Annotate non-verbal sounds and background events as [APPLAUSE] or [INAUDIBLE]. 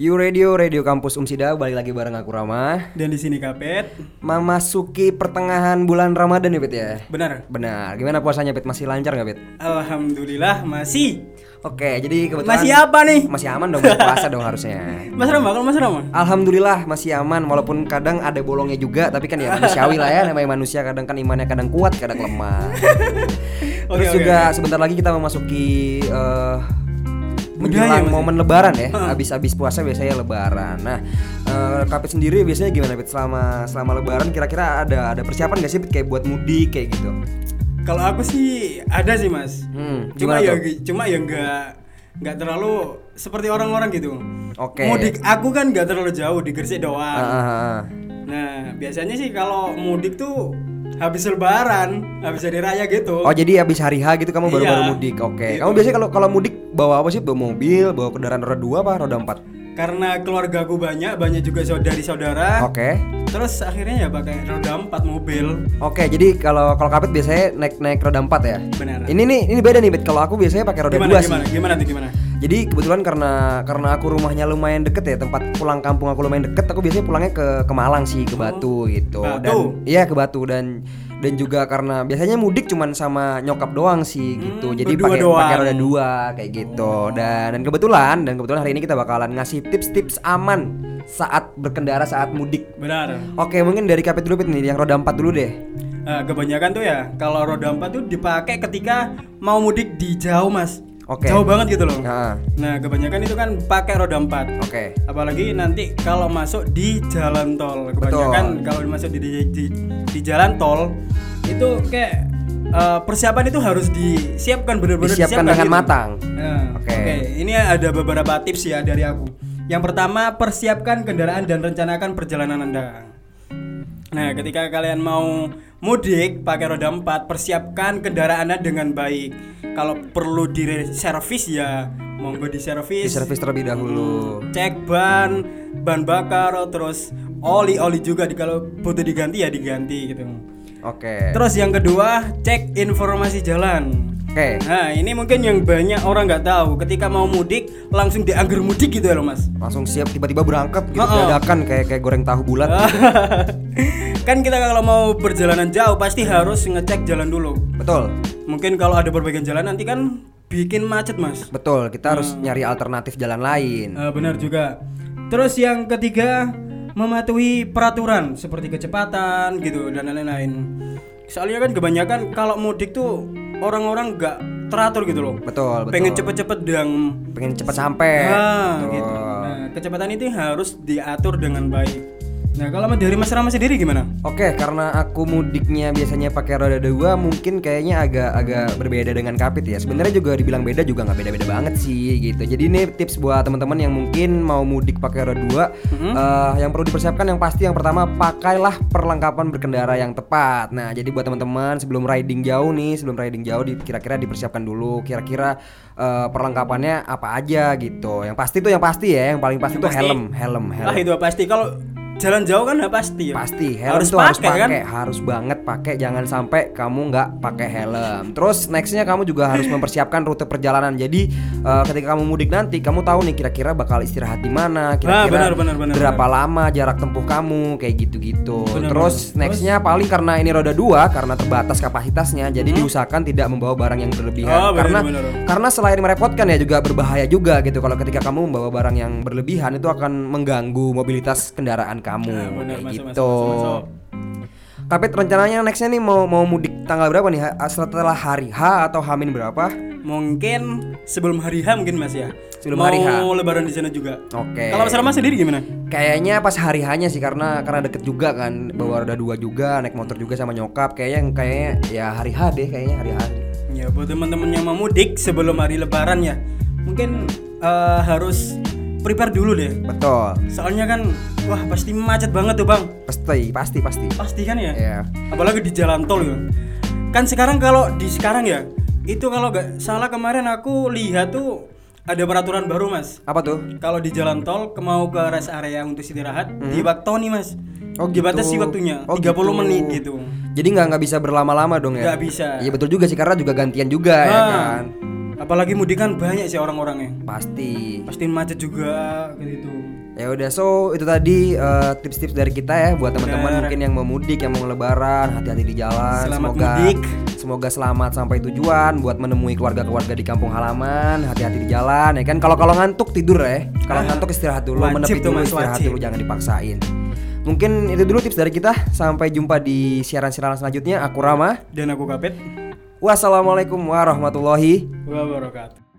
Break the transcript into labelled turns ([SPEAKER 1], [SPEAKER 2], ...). [SPEAKER 1] You Radio, Radio Kampus Umsida, balik lagi bareng aku Rama
[SPEAKER 2] Dan di sini Kapet.
[SPEAKER 1] Memasuki pertengahan bulan Ramadan ya Pit ya?
[SPEAKER 2] Benar.
[SPEAKER 1] Benar, gimana puasanya Pit? Masih lancar nggak Pit?
[SPEAKER 2] Alhamdulillah masih.
[SPEAKER 1] Oke, jadi kebetulan
[SPEAKER 2] Masih apa nih?
[SPEAKER 1] Masih aman dong, masih puasa dong harusnya
[SPEAKER 2] Mas Rama, kalau Mas Rama.
[SPEAKER 1] Alhamdulillah masih aman walaupun kadang ada bolongnya juga tapi kan ya manusiawi lah ya namanya manusia kadang kan imannya kadang kuat kadang lemah.
[SPEAKER 2] Oke,
[SPEAKER 1] Terus
[SPEAKER 2] oke,
[SPEAKER 1] juga sebentar lagi kita memasuki eh,
[SPEAKER 2] Budaya,
[SPEAKER 1] menjelang
[SPEAKER 2] Mas, ya?
[SPEAKER 1] momen lebaran ya. Habis-habis puasa biasanya lebaran. Nah, eh, Kapit sendiri biasanya gimana Pit selama selama lebaran kira-kira ada ada persiapan gak sih Pit kayak buat mudik kayak gitu.
[SPEAKER 2] Kalau aku sih ada sih Mas.
[SPEAKER 1] Hmm, gimana
[SPEAKER 2] cuma ya
[SPEAKER 1] tuh?
[SPEAKER 2] cuma ya nggak nggak terlalu seperti orang-orang gitu.
[SPEAKER 1] Oke.
[SPEAKER 2] Mudik aku kan nggak terlalu jauh di Gresik
[SPEAKER 1] Ah,
[SPEAKER 2] doang.
[SPEAKER 1] ah, ah.
[SPEAKER 2] Nah biasanya sih kalau mudik tuh habis Lebaran, habis hari raya gitu.
[SPEAKER 1] Oh jadi habis hari H gitu kamu baru-baru
[SPEAKER 2] Iya.
[SPEAKER 1] mudik. Oke.
[SPEAKER 2] Gitu.
[SPEAKER 1] Kamu biasanya kalau kalau mudik bawa apa sih? Bawa mobil, bawa kendaraan roda dua apa roda empat?
[SPEAKER 2] Karena keluarga aku banyak, banyak juga saudari saudara.
[SPEAKER 1] Oke.
[SPEAKER 2] Terus akhirnya ya pakai roda empat mobil.
[SPEAKER 1] Oke, jadi kalau kalau kapit biasanya naik naik roda 4 ya.
[SPEAKER 2] Benar.
[SPEAKER 1] Ini nih, ini beda nih, Bet. Kalau aku biasanya pakai roda
[SPEAKER 2] gimana,
[SPEAKER 1] dua
[SPEAKER 2] gimana,
[SPEAKER 1] sih.
[SPEAKER 2] gimana tuh gimana?
[SPEAKER 1] Jadi kebetulan karena karena aku rumahnya lumayan deket ya, tempat pulang kampung aku lumayan deket, aku biasanya pulangnya ke ke Malang sih, ke Batu gitu.
[SPEAKER 2] Oh, Batu.
[SPEAKER 1] Dan iya ke Batu dan dan juga karena biasanya mudik cuman sama nyokap doang sih gitu. jadi
[SPEAKER 2] Hmm, berdua
[SPEAKER 1] pakai
[SPEAKER 2] doang. Oh.
[SPEAKER 1] pakai roda dua kayak gitu. Dan dan kebetulan dan kebetulan hari ini kita bakalan ngasih tips-tips aman saat berkendara saat mudik.
[SPEAKER 2] Benar.
[SPEAKER 1] Oke, mungkin dari kapit dulu Bet nih, yang roda 4 dulu deh.
[SPEAKER 2] Eh, kebanyakan tuh ya kalau roda empat tuh dipakai ketika mau mudik di jauh mas
[SPEAKER 1] Oke.
[SPEAKER 2] jauh banget gitu loh
[SPEAKER 1] Nah,
[SPEAKER 2] nah kebanyakan itu kan pakai roda empat
[SPEAKER 1] oke.
[SPEAKER 2] apalagi nanti kalau masuk di jalan tol kebanyakan
[SPEAKER 1] Betul.
[SPEAKER 2] kalau masuk di, di, di- di jalan tol itu kayak eh, persiapan itu harus disiapkan benar-benar
[SPEAKER 1] Disiapkan dengan
[SPEAKER 2] gitu.
[SPEAKER 1] matang.
[SPEAKER 2] Nah,
[SPEAKER 1] Oke.
[SPEAKER 2] Oke, ini ada beberapa tips ya dari aku. Yang pertama, persiapkan kendaraan dan rencanakan perjalanan Anda. Nah, ketika kalian mau mudik pakai roda 4, persiapkan kendaraan Anda dengan baik. Kalau perlu di servis ya, monggo di
[SPEAKER 1] Di
[SPEAKER 2] servis.
[SPEAKER 1] servis terlebih dahulu.
[SPEAKER 2] Cek ban, ban bakar, terus oli-oli juga di- kalau butuh diganti ya diganti gitu.
[SPEAKER 1] Oke.
[SPEAKER 2] Terus yang kedua, cek informasi jalan.
[SPEAKER 1] Oke.
[SPEAKER 2] Nah, ini mungkin yang banyak orang nggak tahu. Ketika mau mudik, langsung dianggur mudik gitu ya loh mas. [LAUGHS]
[SPEAKER 1] Langsung siap tiba-tiba berangkat gitu
[SPEAKER 2] Oh, oh.
[SPEAKER 1] dadakan kayak kayak goreng tahu bulat.
[SPEAKER 2] kan kita kalau mau perjalanan jauh pasti harus ngecek jalan dulu.
[SPEAKER 1] Betul.
[SPEAKER 2] Mungkin kalau ada perbaikan jalan nanti kan bikin macet mas.
[SPEAKER 1] Betul, kita harus nyari alternatif jalan lain.
[SPEAKER 2] Eh, benar juga. Terus yang ketiga, mematuhi peraturan seperti kecepatan gitu dan lain-lain. Soalnya kan kebanyakan kalau mudik tuh orang-orang nggak teratur gitu loh.
[SPEAKER 1] Betul, betul.
[SPEAKER 2] Pengen cepet-cepet dan
[SPEAKER 1] Pengen cepat sampai.
[SPEAKER 2] Ah,
[SPEAKER 1] Betul.
[SPEAKER 2] gitu. Nah, kecepatan itu harus diatur dengan baik. Nah, kalau dari Mas Rama sendiri gimana?
[SPEAKER 1] Oke, karena aku mudiknya biasanya pakai roda dua, mungkin kayaknya agak-agak berbeda dengan Kapit ya. Sebenarnya juga dibilang beda juga nggak beda-beda banget sih gitu. Jadi ini tips buat teman-teman yang mungkin mau mudik pakai roda dua, eh, yang perlu dipersiapkan yang pasti yang pertama pakailah perlengkapan berkendara yang tepat. Nah, jadi buat teman-teman sebelum riding jauh nih, sebelum riding jauh di- kira-kira dipersiapkan dulu kira-kira eh, perlengkapannya apa aja gitu. Yang pasti tuh yang pasti ya, yang paling pasti tuh
[SPEAKER 2] pasti.
[SPEAKER 1] helm, helm, helm.
[SPEAKER 2] Lah Ah, itu pasti kalau jalan jauh kan nggak pasti ya.
[SPEAKER 1] Pasti helm
[SPEAKER 2] harus
[SPEAKER 1] tuh harus
[SPEAKER 2] pakai
[SPEAKER 1] pakai,
[SPEAKER 2] kan?
[SPEAKER 1] harus banget pakai. Jangan sampai kamu nggak pakai helm. Terus nextnya kamu juga harus mempersiapkan rute perjalanan. Jadi eh, ketika kamu mudik nanti, kamu tahu nih kira-kira bakal istirahat di mana, kira-kira
[SPEAKER 2] Ah, benar, benar, benar,
[SPEAKER 1] berapa lama jarak tempuh kamu, kayak gitu-gitu.
[SPEAKER 2] Benar,
[SPEAKER 1] Terus
[SPEAKER 2] benar.
[SPEAKER 1] nextnya paling karena ini roda dua, karena terbatas kapasitasnya, jadi diusahakan tidak membawa barang yang berlebihan.
[SPEAKER 2] Hmm? Oh, benar,
[SPEAKER 1] karena
[SPEAKER 2] benar.
[SPEAKER 1] karena selain merepotkan ya juga berbahaya juga gitu kalau ketika kamu membawa barang yang berlebihan itu akan mengganggu mobilitas kendaraan kamu
[SPEAKER 2] Nah, benar,
[SPEAKER 1] kayak
[SPEAKER 2] masuk,
[SPEAKER 1] gitu.
[SPEAKER 2] masuk, masuk, masuk.
[SPEAKER 1] Tapi rencananya nextnya nih mau mau mudik tanggal berapa nih? Ha- Setelah hari H atau Hamin berapa?
[SPEAKER 2] Mungkin sebelum hari H mungkin Mas ya.
[SPEAKER 1] Sebelum
[SPEAKER 2] Mau
[SPEAKER 1] hari H.
[SPEAKER 2] lebaran di sana juga.
[SPEAKER 1] Oke.
[SPEAKER 2] Kalau Mas Rama sendiri gimana?
[SPEAKER 1] Kayaknya pas hari hanya sih karena karena deket juga kan bawa roda dua juga naik motor juga sama nyokap kayaknya kayaknya ya hari H deh kayaknya hari H.
[SPEAKER 2] Ya buat teman-teman yang mau mudik sebelum hari lebaran ya. Mungkin eh, harus prepare dulu deh.
[SPEAKER 1] Betul.
[SPEAKER 2] Soalnya kan wah pasti macet banget tuh, Bang.
[SPEAKER 1] Pasti pasti pasti.
[SPEAKER 2] Pasti kan ya?
[SPEAKER 1] Ya.
[SPEAKER 2] apalagi di jalan tol ya. kan sekarang kalau di sekarang ya itu kalau nggak salah kemarin aku lihat tuh ada peraturan baru mas
[SPEAKER 1] Apa tuh?
[SPEAKER 2] kalau di jalan tol ke- mau ke rest area untuk istirahat diwaktoni mas
[SPEAKER 1] Hmm. Oh, gitu.
[SPEAKER 2] dibatasi waktunya
[SPEAKER 1] Oh,
[SPEAKER 2] 30
[SPEAKER 1] gitu.
[SPEAKER 2] menit gitu
[SPEAKER 1] Jadi nggak nggak bisa berlama-lama dong ya?
[SPEAKER 2] Nggak bisa.
[SPEAKER 1] Iya betul juga sih karena juga gantian juga ya
[SPEAKER 2] Ah,
[SPEAKER 1] kan.
[SPEAKER 2] apalagi mudik kan banyak sih orang-orangnya
[SPEAKER 1] Pasti.
[SPEAKER 2] pasti macet juga gitu
[SPEAKER 1] Ya udah so itu tadi eh, tips-tips dari kita ya buat teman-teman
[SPEAKER 2] Benar.
[SPEAKER 1] mungkin yang mau mudik, yang mau lebaran, hati-hati di jalan.
[SPEAKER 2] Selamat
[SPEAKER 1] semoga
[SPEAKER 2] mudik.
[SPEAKER 1] semoga selamat sampai tujuan buat menemui keluarga-keluarga di kampung halaman, hati-hati di jalan ya kan. Kalau kalau ngantuk tidur ya. Kalau
[SPEAKER 2] Ah,
[SPEAKER 1] ngantuk istirahat dulu,
[SPEAKER 2] wajib
[SPEAKER 1] menepi
[SPEAKER 2] tuh,
[SPEAKER 1] dulu
[SPEAKER 2] Mas,
[SPEAKER 1] istirahat
[SPEAKER 2] wajib.
[SPEAKER 1] dulu jangan dipaksain. Mungkin itu dulu tips dari kita. Sampai jumpa di siaran-siaran selanjutnya. Aku Rama.
[SPEAKER 2] dan aku kapet
[SPEAKER 1] Wassalamualaikum warahmatullahi
[SPEAKER 2] wabarakatuh